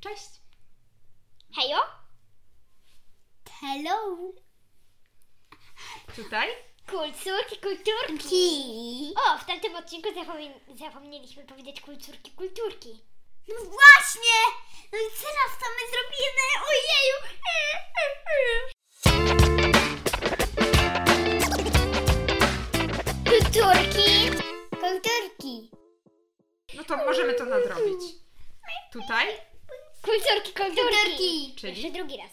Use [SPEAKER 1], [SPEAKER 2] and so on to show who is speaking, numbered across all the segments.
[SPEAKER 1] Cześć! Hejo?
[SPEAKER 2] Hello!
[SPEAKER 3] Tutaj?
[SPEAKER 1] Kulturki, kulturki! O, w tamtym odcinku zapomin- zapomnieliśmy powiedzieć kulturki, kulturki.
[SPEAKER 2] No właśnie! No i teraz co my zrobimy? Ojeju!
[SPEAKER 1] Kulturki! Kulturki!
[SPEAKER 3] No to możemy to nadrobić. Tutaj?
[SPEAKER 1] Kulturki, kulturki!
[SPEAKER 3] Czyli?
[SPEAKER 1] Jeszcze drugi raz.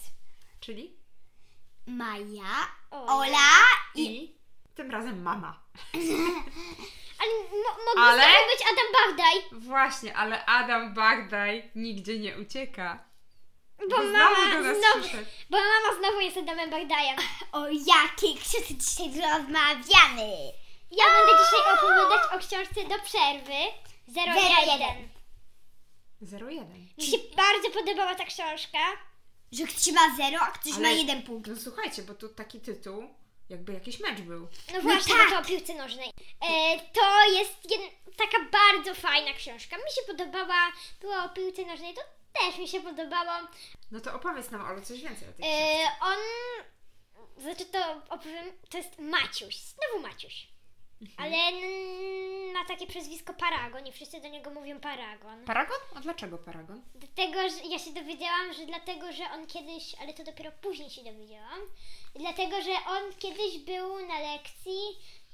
[SPEAKER 3] Czyli?
[SPEAKER 2] Maja,
[SPEAKER 1] Ola.
[SPEAKER 2] Ola i...
[SPEAKER 3] I? Tym razem mama.
[SPEAKER 1] Ale mo- mógłby
[SPEAKER 3] Ale?
[SPEAKER 1] znowu być Adam Bagdaj,
[SPEAKER 3] Właśnie, ale Adam Bagdaj nigdzie nie ucieka.
[SPEAKER 1] bo
[SPEAKER 3] Bo znowu do
[SPEAKER 1] mama
[SPEAKER 3] nas
[SPEAKER 1] znowu,
[SPEAKER 3] przyszedł.
[SPEAKER 1] bo mama znowu jest Adamem Bagdajem.
[SPEAKER 2] O jakiej książce dzisiaj rozmawiamy?
[SPEAKER 1] Ja będę dzisiaj opowiadać o książce do przerwy 01.
[SPEAKER 3] 01.
[SPEAKER 1] Mi się bardzo podobała ta książka.
[SPEAKER 2] Że ktoś ma zero, a ktoś
[SPEAKER 3] Ale-
[SPEAKER 2] ma jeden punkt.
[SPEAKER 3] No słuchajcie, bo tu taki tytuł, jakby jakiś mecz był.
[SPEAKER 1] No właśnie,
[SPEAKER 2] tak.
[SPEAKER 1] bo to o piłce nożnej. E, to jest jed... taka bardzo fajna książka. Mi się podobała, była o piłce nożnej, to też mi się podobało.
[SPEAKER 3] No to opowiedz nam, Olu, coś więcej o tej książce.
[SPEAKER 1] E, on, znaczy to opowiem, to jest Maciuś, znowu Maciuś. Ale n- ma takie przezwisko Paragon i wszyscy do niego mówią Paragon.
[SPEAKER 3] Paragon? A dlaczego Paragon?
[SPEAKER 1] Dlatego, że ja się dowiedziałam, że dlatego, że on kiedyś, ale to dopiero później się dowiedziałam, dlatego, że on kiedyś był na lekcji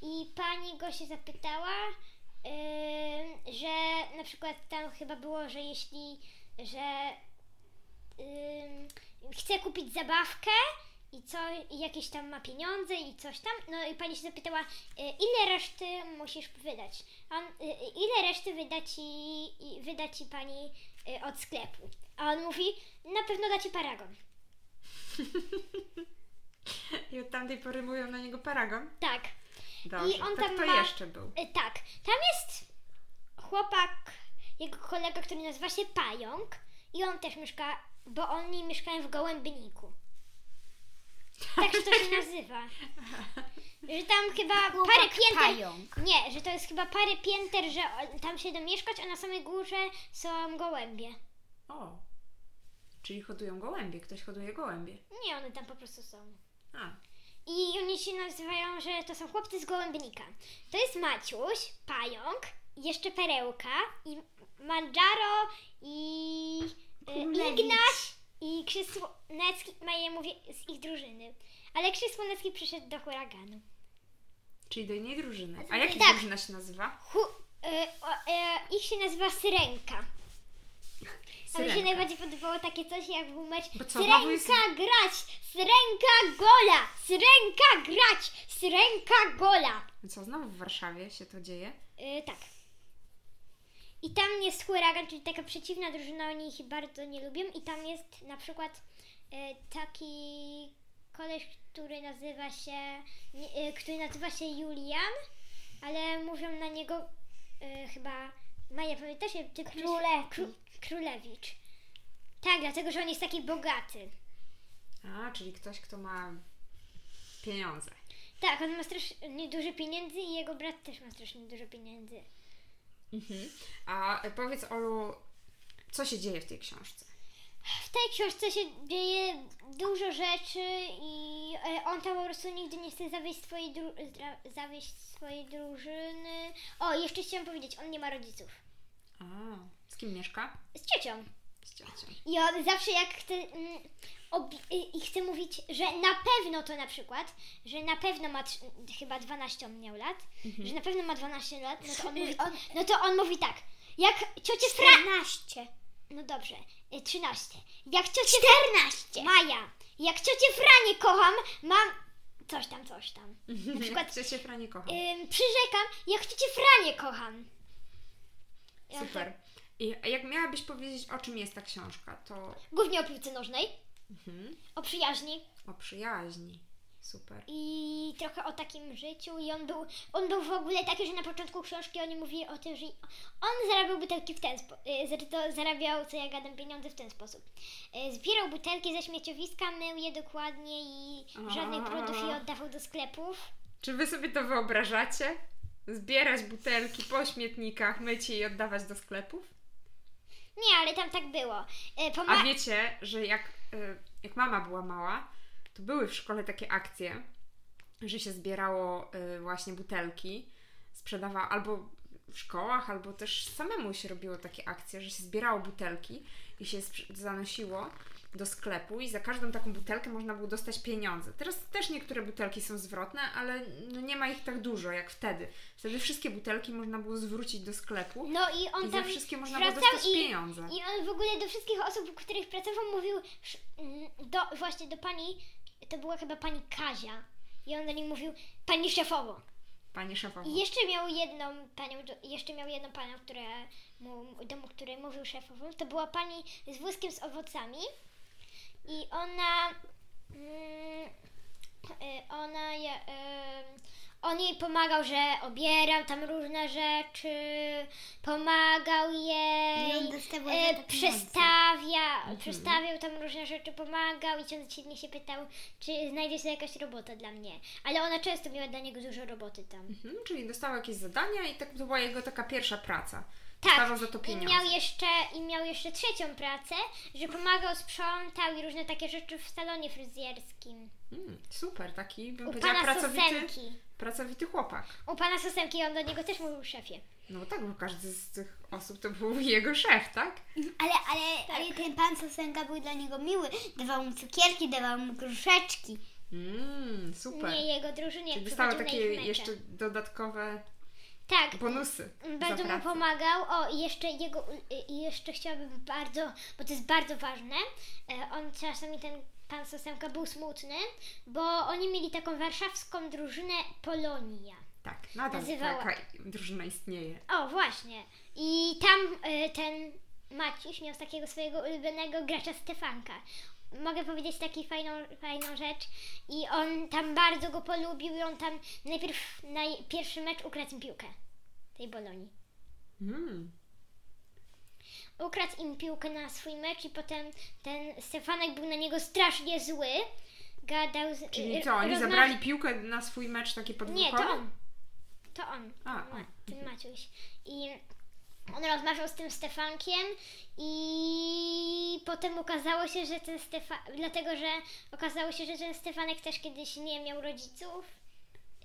[SPEAKER 1] i pani go się zapytała, ym, że na przykład tam chyba było, że jeśli, że ym, chce kupić zabawkę i co, i jakieś tam ma pieniądze i coś tam, no i pani się zapytała, y, ile reszty musisz wydać? A on, y, y, ile reszty wyda ci, i- wyda ci pani y, od sklepu. A on mówi, na pewno da ci paragon.
[SPEAKER 3] I od tamtej pory mówią na niego Paragon?
[SPEAKER 1] Tak.
[SPEAKER 3] Dobrze,
[SPEAKER 1] I on
[SPEAKER 3] to
[SPEAKER 1] tam
[SPEAKER 3] kto
[SPEAKER 1] ma-
[SPEAKER 3] jeszcze był?
[SPEAKER 1] Y, tak. Tam jest chłopak, jego kolega, który nazywa się Pająk i on też mieszka, bo oni mieszkają w Gołębniku. Tak się to się nazywa. Że tam chyba parę pięter...
[SPEAKER 2] pająk.
[SPEAKER 1] Nie, że to jest chyba parę pięter, że o- tam się domieszkać, a na samej górze są gołębie.
[SPEAKER 3] O, czyli hodują gołębie, ktoś hoduje gołębie.
[SPEAKER 1] Nie, one tam po prostu są.
[SPEAKER 3] A,
[SPEAKER 1] I oni się nazywają, że to są chłopcy z gołębnika. To jest Maciuś, pająk, jeszcze perełka i Mandżaro i y,
[SPEAKER 2] Królewicz.
[SPEAKER 1] Ignaś i Krzysłonecki, ma je mówię z ich drużyny. Ale Krzysłonecki przyszedł do huraganu.
[SPEAKER 3] czyli do innej drużyny. A
[SPEAKER 2] tutaj-
[SPEAKER 3] jak
[SPEAKER 1] tak.
[SPEAKER 3] ta drużyna się nazywa?
[SPEAKER 1] Hu, y, o, y, ich się nazywa Syrenka. A mi się
[SPEAKER 3] Syrenka.
[SPEAKER 1] najbardziej podobało takie coś jak był mecz
[SPEAKER 3] Bo co,
[SPEAKER 1] Syrenka
[SPEAKER 3] znowu jest-
[SPEAKER 1] grać, Syrenka gola, Syrenka grać, Syrenka gola.
[SPEAKER 3] Co, znowu w Warszawie się to dzieje?
[SPEAKER 1] Y, tak. I tam jest huragan, czyli taka przeciwna drużyna, oni ich bardzo nie lubią. I tam jest na przykład y, taki koleś, który nazywa się, nie, y, który nazywa się Julian, ale mówią na niego y, chyba, Maja pamiętasz? jak Ty Królewicz. Kró, Królewicz. Tak, dlatego, że on jest taki bogaty.
[SPEAKER 3] A, czyli ktoś, kto ma pieniądze.
[SPEAKER 1] Tak, on ma strasznie dużo pieniędzy i jego brat też ma strasznie dużo pieniędzy. Mhm.
[SPEAKER 3] A e, powiedz, Olu, co się dzieje w tej książce?
[SPEAKER 1] W tej książce się dzieje dużo rzeczy i e, on tam po prostu nigdy nie chce zawieść swojej, dru- zdra- zawieść swojej drużyny. O, jeszcze chciałam powiedzieć, on nie ma rodziców.
[SPEAKER 3] A, z kim mieszka?
[SPEAKER 1] Z ciocią.
[SPEAKER 3] Z ciocią.
[SPEAKER 1] I on zawsze jak chce, mm, obi- i- i chce mówić, że na pewno to na przykład, że na pewno ma trz- chyba 12 on miał lat, że na pewno ma 12 lat, no to on mówi,
[SPEAKER 2] On-
[SPEAKER 1] no to on mówi tak, jak ciocie Fra...
[SPEAKER 2] 14.
[SPEAKER 1] No dobrze, y, 13. Jak ciocie 14. Maja, jak ciocie Franie kocham, mam coś tam, coś tam. Mhm. Na
[SPEAKER 3] Przykład...
[SPEAKER 1] przykład
[SPEAKER 3] Ciocię Franie kocham.
[SPEAKER 1] ym, przyrzekam, jak ciocie Franie kocham. Ja mam
[SPEAKER 3] Super. I a jak miałabyś powiedzieć, o czym jest ta książka, to
[SPEAKER 1] tak Głównie o piłce nożnej,
[SPEAKER 3] mhm.
[SPEAKER 1] o przyjaźni
[SPEAKER 3] o przyjaźni. Super.
[SPEAKER 1] i trochę o takim życiu i on był, on był w ogóle taki, że na początku książki oni mówili o tym, że on zarabiał butelki w ten sposób, to zarabiał, co ja gadam, pieniądze w ten sposób. Y, Zbierał butelki ze śmieciowiska, mył je dokładnie i żadnej brudów i oddawał do sklepów.
[SPEAKER 3] Czy wy sobie to wyobrażacie? Zbierać butelki po śmietnikach, myć je i oddawać do sklepów?
[SPEAKER 1] Nie, ale tam tak było. E,
[SPEAKER 3] A
[SPEAKER 1] Poma-
[SPEAKER 3] wiecie, że jak, y, jak mama była mała, to były w szkole takie akcje, że się zbierało y, właśnie butelki, sprzedawała albo w szkołach, albo też samemu się robiło takie akcje, że się zbierało butelki i się sprz- zanosiło do sklepu i za każdą taką butelkę można było dostać pieniądze. Teraz też niektóre butelki są zwrotne, ale no nie ma ich tak dużo jak wtedy. Wtedy wszystkie butelki można było zwrócić do sklepu
[SPEAKER 1] no i on
[SPEAKER 3] i za
[SPEAKER 1] tam
[SPEAKER 3] wszystkie można było
[SPEAKER 1] wracał
[SPEAKER 3] dostać
[SPEAKER 1] i-
[SPEAKER 3] pieniądze.
[SPEAKER 1] I on w ogóle do wszystkich osób, których pracował, mówił sz- mm, do, właśnie do pani, to była chyba pani Kazia. I on do niej mówił pani szefowo.
[SPEAKER 3] Pani szefowa.
[SPEAKER 1] I jeszcze miał jedną panią, do- jeszcze miał jedną panią, która mu, do mu- której mówił szefową. To była pani z wózkiem z owocami. I ona. Mm, y, ona. je- ym, on jej pomagał, że obierał tam różne rzeczy, pomagał jej.
[SPEAKER 2] I on dostawał
[SPEAKER 1] E,
[SPEAKER 2] za to
[SPEAKER 1] przestawia,
[SPEAKER 2] Mhm.
[SPEAKER 1] przestawiał tam różne rzeczy, pomagał i codziennie się pytał, czy znajdzie się jakaś robota dla mnie. Ale ona często miała dla niego dużo roboty tam.
[SPEAKER 3] Mhm, czyli dostała jakieś zadania i tak to była jego taka pierwsza praca. Dostawał
[SPEAKER 1] Tak,
[SPEAKER 3] za to
[SPEAKER 1] i
[SPEAKER 3] pieniądze.
[SPEAKER 1] miał, jeszcze, i miał jeszcze trzecią pracę, że pomagał, sprzątał i różne takie rzeczy w salonie fryzjerskim.
[SPEAKER 3] Mm, super, taki bym
[SPEAKER 1] U
[SPEAKER 3] powiedziała
[SPEAKER 1] pana
[SPEAKER 3] pracowity,
[SPEAKER 1] Sosenki.
[SPEAKER 3] pracowity chłopak.
[SPEAKER 1] U pana Sosenki, on do niego też mówił szefie.
[SPEAKER 3] No bo tak, bo każdy z tych osób to był jego szef, tak?
[SPEAKER 2] Ale, ale,
[SPEAKER 1] Tak.
[SPEAKER 2] ale ten pan Sosenka był dla niego miły. Dawał mu cukierki, dawał mu gruszeczki.
[SPEAKER 3] Mm, super.
[SPEAKER 1] Nie jego drużynie,
[SPEAKER 3] Czyli
[SPEAKER 1] jak
[SPEAKER 3] dostała
[SPEAKER 1] przychodził na
[SPEAKER 3] takie
[SPEAKER 1] ich mecze.
[SPEAKER 3] jeszcze dodatkowe
[SPEAKER 1] Tak,
[SPEAKER 3] bonusy.
[SPEAKER 1] Bardzo
[SPEAKER 3] za
[SPEAKER 1] mu
[SPEAKER 3] pracę.
[SPEAKER 1] pomagał. O, i jeszcze jego, y, i jeszcze chciałabym bardzo, bo to jest bardzo ważne. e, On czasami ten pan Sosemka był smutny, bo oni mieli taką warszawską drużynę Polonia.
[SPEAKER 3] Tak, nadal
[SPEAKER 1] Nazywała.
[SPEAKER 3] taka drużyna istnieje.
[SPEAKER 1] O, właśnie. I tam e, ten Maciś miał takiego swojego ulubionego gracza Stefanka. Mogę powiedzieć taką fajną, fajną rzecz. I on tam bardzo go polubił i on tam najpierw na pierwszy mecz ukradł im piłkę tej Bolonii.
[SPEAKER 3] Mm.
[SPEAKER 1] ukradł im piłkę na swój mecz i potem ten Stefanek był na niego strasznie zły. Gadał z...
[SPEAKER 3] Czyli
[SPEAKER 1] y,
[SPEAKER 3] co, oni
[SPEAKER 1] rozmawia-
[SPEAKER 3] zabrali piłkę na swój mecz taki podwórkowy?
[SPEAKER 1] Nie, to on. To on.
[SPEAKER 3] A,
[SPEAKER 1] ten Ma-
[SPEAKER 3] on.
[SPEAKER 1] ten Maciuś. I on rozmawiał z tym Stefankiem i potem okazało się, że ten Stefan... Dlatego, że okazało się, że ten Stefanek też kiedyś nie miał rodziców.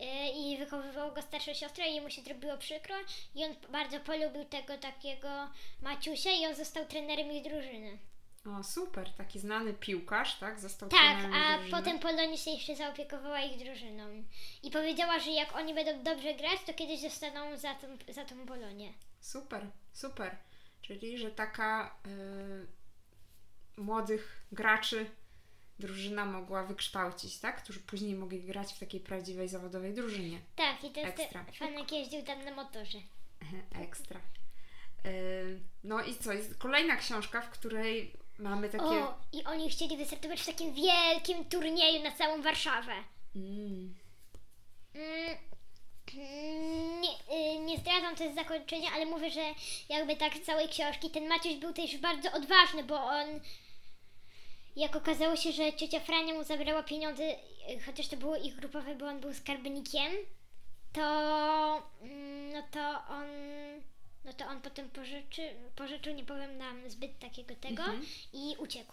[SPEAKER 1] y, I wychowywał go starszą siostrę i mu się zrobiło przykro i on bardzo polubił tego takiego Maciusia i on został trenerem ich drużyny.
[SPEAKER 3] O, super, taki znany piłkarz, tak? Został
[SPEAKER 1] Tak,
[SPEAKER 3] trenerem
[SPEAKER 1] a
[SPEAKER 3] drużyny.
[SPEAKER 1] potem Polonia się jeszcze zaopiekowała ich drużyną i powiedziała, że jak oni będą dobrze grać, to kiedyś zostaną za tą, za tą Polonię.
[SPEAKER 3] Super, super. Czyli, że taka y, młodych graczy drużyna mogła wykształcić, tak? Którzy później mogli grać w takiej prawdziwej zawodowej drużynie.
[SPEAKER 1] Tak, i ten
[SPEAKER 3] Ekstra.
[SPEAKER 1] Stefanek jeździł tam na motorze.
[SPEAKER 3] Ekstra. Y, no i co? Jest kolejna książka, w której mamy takie.
[SPEAKER 1] O, i oni chcieli wystartować w takim wielkim turnieju na całą Warszawę.
[SPEAKER 3] Mm,
[SPEAKER 1] Mm, mm, nie, y, nie zdradzam to jest zakończenie, ale mówię, że jakby tak z całej książki ten Maciuś był też bardzo odważny, bo on jak okazało się, że ciocia Frania mu zabrała pieniądze, y, chociaż to było ich grupowe, bo on był skarbnikiem, to mm, no to on no to on potem pożyczy, pożyczył, nie powiem nam zbyt takiego tego
[SPEAKER 3] Mhm.
[SPEAKER 1] i uciekł.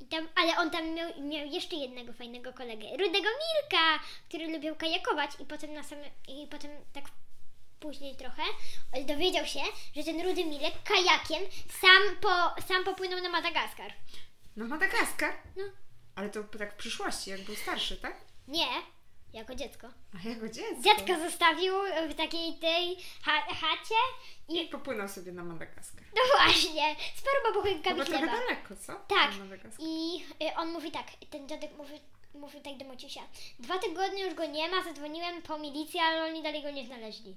[SPEAKER 1] I tam, ale on tam miał, miał jeszcze jednego fajnego kolegę, Rudego Milka, który lubił kajakować i potem na same, i potem tak później trochę e, dowiedział się, że ten Rudy Milek kajakiem sam, po, sam popłynął na Madagaskar.
[SPEAKER 3] no Madagaskar.
[SPEAKER 1] No.
[SPEAKER 3] Ale to tak w przyszłości, jak był starszy, tak?
[SPEAKER 1] Nie, jako dziecko.
[SPEAKER 3] A jako dziecko.
[SPEAKER 1] Dziadka zostawił w takiej tej ha- chacie
[SPEAKER 3] I
[SPEAKER 1] i
[SPEAKER 3] popłynął sobie na Madagaskar.
[SPEAKER 1] no właśnie, z paroma buchenkami
[SPEAKER 3] Chyba trochę
[SPEAKER 1] chleba.
[SPEAKER 3] daleko, co?
[SPEAKER 1] Tak.
[SPEAKER 3] Na Madagaskar.
[SPEAKER 1] I y, on mówi tak, ten dziadek mówi, mówi tak do Maciusia. Dwa tygodnie już go nie ma, zadzwoniłem po milicję, ale oni dalej go nie znaleźli.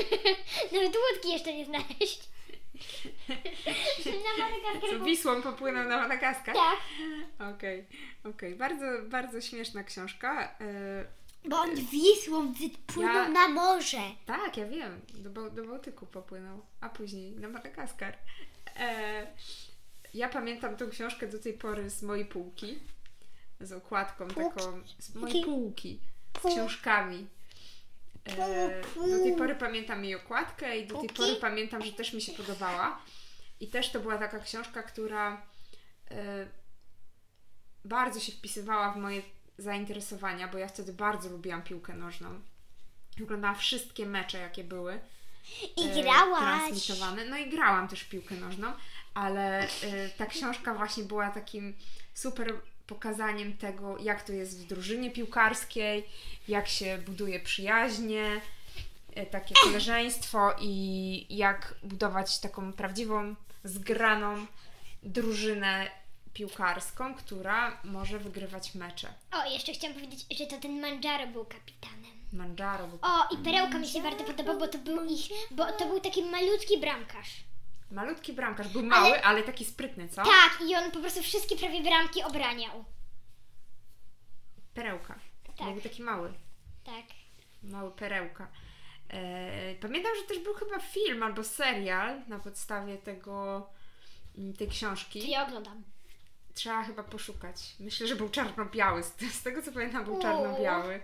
[SPEAKER 1] Nawet łódki jeszcze nie znaleźli. Na Madagaskar
[SPEAKER 3] Co
[SPEAKER 1] był-
[SPEAKER 3] Wisłą popłynął na Madagaskar?
[SPEAKER 1] Tak,
[SPEAKER 3] Okej, okej. Bardzo, bardzo śmieszna książka. E,
[SPEAKER 2] Bo on Wisłą wypłynął
[SPEAKER 3] Ja-
[SPEAKER 2] na morze.
[SPEAKER 3] tak, ja wiem. Do, Bał- do Bałtyku popłynął, a później na Madagaskar. E, ja pamiętam tą książkę do tej pory z mojej półki. Z okładką taką. Z mojej
[SPEAKER 2] Półki.
[SPEAKER 3] półki. Z
[SPEAKER 2] Pół-
[SPEAKER 3] książkami. E, do tej
[SPEAKER 2] Pół-
[SPEAKER 3] pory pamiętam jej okładkę i do tej
[SPEAKER 2] Półki?
[SPEAKER 3] pory pamiętam, że też mi się podobała. I też to była taka książka, która y, bardzo się wpisywała w moje zainteresowania, bo ja wtedy bardzo lubiłam piłkę nożną. Oglądałam wszystkie mecze, jakie były
[SPEAKER 2] I
[SPEAKER 3] e,
[SPEAKER 2] grałaś.
[SPEAKER 3] transmitowane. No i grałam też w piłkę nożną, ale e, ta książka właśnie była takim super pokazaniem tego, jak to jest w drużynie piłkarskiej, jak się buduje przyjaźnie, e, takie koleżeństwo i jak budować taką prawdziwą, zgraną drużynę piłkarską, która może wygrywać mecze.
[SPEAKER 1] O, jeszcze chciałam powiedzieć, że to ten Manjaro był kapitanem.
[SPEAKER 3] Manjaro, bo
[SPEAKER 1] O, i perełka mi się bardzo podoba, bo to był ich, bo to był taki malutki bramkarz.
[SPEAKER 3] malutki bramkarz, był mały, ale, taki sprytny, co?
[SPEAKER 1] Tak, i on po prostu wszystkie prawie bramki obraniał.
[SPEAKER 3] Perełka.
[SPEAKER 1] Tak.
[SPEAKER 3] Jakby taki mały.
[SPEAKER 1] Tak.
[SPEAKER 3] Mały perełka. E, Pamiętam, że też był chyba film albo serial na podstawie tego m, tej
[SPEAKER 1] Czyli
[SPEAKER 3] książki.
[SPEAKER 1] ja oglądam.
[SPEAKER 3] Trzeba chyba poszukać. Myślę, że był czarno-biały. Z, z tego co pamiętam, był czarno-biały.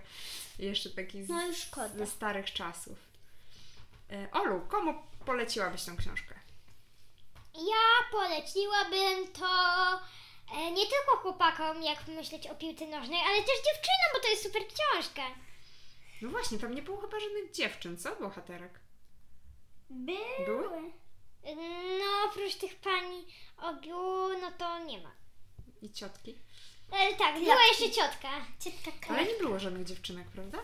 [SPEAKER 3] Jeszcze taki z,
[SPEAKER 1] No już szkoda.
[SPEAKER 3] ze starych czasów. E, Olu, komu poleciłabyś tą książkę?
[SPEAKER 1] Ja poleciłabym to e, nie tylko chłopakom, jak myśleć o piłce nożnej, ale też dziewczynom, bo to jest super książka.
[SPEAKER 3] No właśnie, tam nie było chyba żadnych dziewczyn, co? Bohaterek.
[SPEAKER 2] By...
[SPEAKER 3] Były?
[SPEAKER 1] No, oprócz tych pani Obiu, no to nie ma.
[SPEAKER 3] I ciotki.
[SPEAKER 1] Ale tak, była jeszcze ciotka. Ciotka
[SPEAKER 3] Ale nie było żadnych dziewczynek, prawda?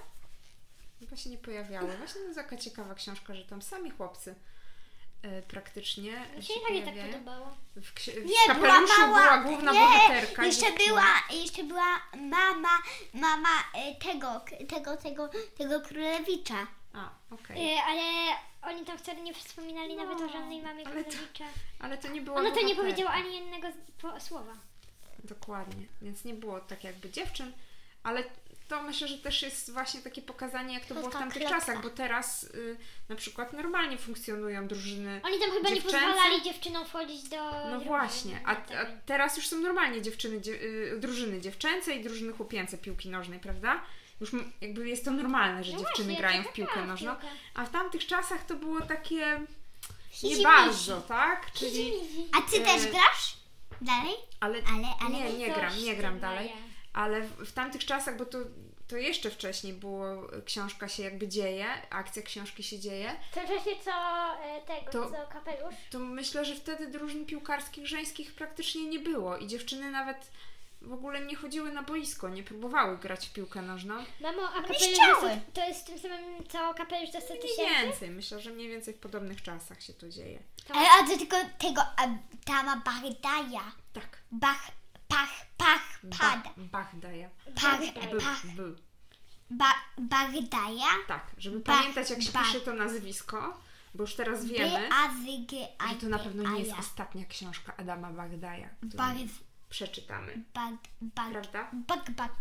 [SPEAKER 3] Chyba się nie pojawiały. Właśnie to taka ciekawa książka, że tam sami chłopcy e, praktycznie
[SPEAKER 1] Mi się
[SPEAKER 3] się
[SPEAKER 1] i tak nie tak
[SPEAKER 3] pojawiają.
[SPEAKER 1] podobało.
[SPEAKER 3] W, ksi- w
[SPEAKER 2] Nie, była
[SPEAKER 3] kapeluszu
[SPEAKER 2] mała.
[SPEAKER 3] była główna
[SPEAKER 2] nie,
[SPEAKER 3] bohaterka. i
[SPEAKER 2] Jeszcze
[SPEAKER 3] dziewczyna.
[SPEAKER 2] była, jeszcze była mama, mama e, tego, k- tego, tego, tego królewicza.
[SPEAKER 3] A, okej.
[SPEAKER 1] E, ale oni tam wcale nie wspominali nawet o żadnej mamie
[SPEAKER 3] No. ale to-
[SPEAKER 1] Królewicza.
[SPEAKER 3] Ale to nie było.
[SPEAKER 1] Ona to nie
[SPEAKER 3] bohaterka.
[SPEAKER 1] powiedziała ani jednego z- po- słowa.
[SPEAKER 3] Dokładnie. Więc nie było tak jakby dziewczyn, ale to myślę, że też jest właśnie takie pokazanie, jak to było w
[SPEAKER 2] Krótka
[SPEAKER 3] tamtych
[SPEAKER 2] kropka.
[SPEAKER 3] czasach, bo teraz y, na przykład normalnie funkcjonują drużyny.
[SPEAKER 1] Oni tam chyba
[SPEAKER 3] Dziewczęce?
[SPEAKER 1] nie pozwalali dziewczynom wchodzić do...
[SPEAKER 3] No
[SPEAKER 1] drużyny. Tak. No
[SPEAKER 3] właśnie, a, a teraz już są normalnie dziewczyny, dzie, y, drużyny dziewczęce i drużyny chłopięce piłki nożnej, prawda? Już m- jakby jest to normalne, że
[SPEAKER 1] No
[SPEAKER 3] dziewczyny
[SPEAKER 1] właśnie, tak,
[SPEAKER 3] grają
[SPEAKER 1] taka
[SPEAKER 3] w piłkę
[SPEAKER 1] była
[SPEAKER 3] nożną,
[SPEAKER 1] piłka.
[SPEAKER 3] a w tamtych czasach to było takie nie
[SPEAKER 2] Hizi-mizi.
[SPEAKER 3] bardzo, tak? Czyli,
[SPEAKER 2] A ty
[SPEAKER 3] E,
[SPEAKER 2] też grasz? Dalej?
[SPEAKER 3] ale,
[SPEAKER 2] Ale- ale
[SPEAKER 3] nie, nie
[SPEAKER 1] Coś
[SPEAKER 3] gram, nie
[SPEAKER 1] ty,
[SPEAKER 3] gram
[SPEAKER 1] no
[SPEAKER 3] dalej,
[SPEAKER 1] ja.
[SPEAKER 3] ale w, w tamtych czasach, bo to, to jeszcze wcześniej było, y, książka się jakby dzieje, akcja książki się dzieje,
[SPEAKER 1] W tym czasie co e, tego,
[SPEAKER 3] To-
[SPEAKER 1] co kapelusz?
[SPEAKER 3] to myślę, że wtedy drużyn piłkarskich żeńskich praktycznie nie było i dziewczyny nawet w ogóle nie chodziły na boisko, nie próbowały grać w piłkę nożną.
[SPEAKER 1] Mamo, a kapelusz
[SPEAKER 2] chciały.
[SPEAKER 1] za- to jest tym samym co kapelusz za 100
[SPEAKER 3] Mniej
[SPEAKER 1] tysięcy?
[SPEAKER 3] więcej, myślę, że mniej więcej w podobnych czasach się to dzieje.
[SPEAKER 2] Ale a to tylko tego, a, ta ma Bagdaja.
[SPEAKER 3] Tak.
[SPEAKER 2] Bach, pach, pach, pada.
[SPEAKER 3] Bachdaja.
[SPEAKER 2] Pach,
[SPEAKER 3] B,
[SPEAKER 2] pach,
[SPEAKER 3] b.
[SPEAKER 2] Tak, ba, Bagdaja.
[SPEAKER 3] Tak, żeby
[SPEAKER 2] Bach,
[SPEAKER 3] pamiętać jak się
[SPEAKER 2] bach.
[SPEAKER 3] pisze to nazwisko, bo już teraz
[SPEAKER 2] B,
[SPEAKER 3] wiemy,
[SPEAKER 2] a, z, g, a,
[SPEAKER 3] że to na pewno nie jest
[SPEAKER 2] Bagdaja.
[SPEAKER 3] ostatnia książka Adama Bagdaja, którą
[SPEAKER 2] Bag,
[SPEAKER 3] przeczytamy.
[SPEAKER 2] bag, bag,
[SPEAKER 3] Prawda? No.
[SPEAKER 2] bag, bag.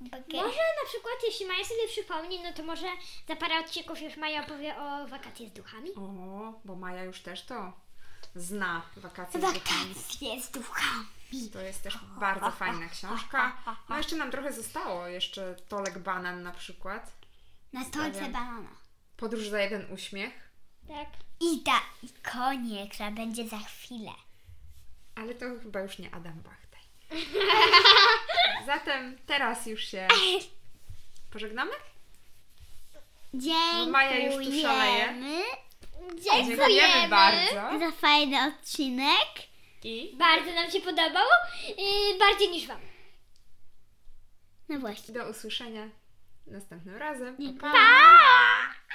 [SPEAKER 2] Bagaj.
[SPEAKER 1] Może na przykład, jeśli Maja sobie przypomni, no to może za parę odcinków już Maja opowie o wakacje z duchami.
[SPEAKER 3] O, bo Maja już też to zna wakacje z duchami.
[SPEAKER 2] Wakacje z duchami.
[SPEAKER 3] To jest też bardzo fajna książka. No jeszcze nam trochę zostało, jeszcze Tolek Banan na przykład.
[SPEAKER 2] Na stolce
[SPEAKER 3] Stawiam.
[SPEAKER 2] banana.
[SPEAKER 3] Podróż za jeden uśmiech.
[SPEAKER 1] Tak.
[SPEAKER 2] Ida i konie, która będzie za chwilę.
[SPEAKER 3] Ale to chyba już nie Adam Bachtaj. Zatem teraz już się pożegnamy? No,
[SPEAKER 2] Dziękujemy
[SPEAKER 3] Maja już tu szaleje.
[SPEAKER 2] Dziękujemy
[SPEAKER 3] Dziękujemy bardzo.
[SPEAKER 2] za fajny odcinek.
[SPEAKER 3] I
[SPEAKER 1] Bardzo nam się podobało, yy, bardziej niż Wam.
[SPEAKER 2] No właśnie.
[SPEAKER 3] do usłyszenia następnym razem. Pa! pa.
[SPEAKER 2] Pa!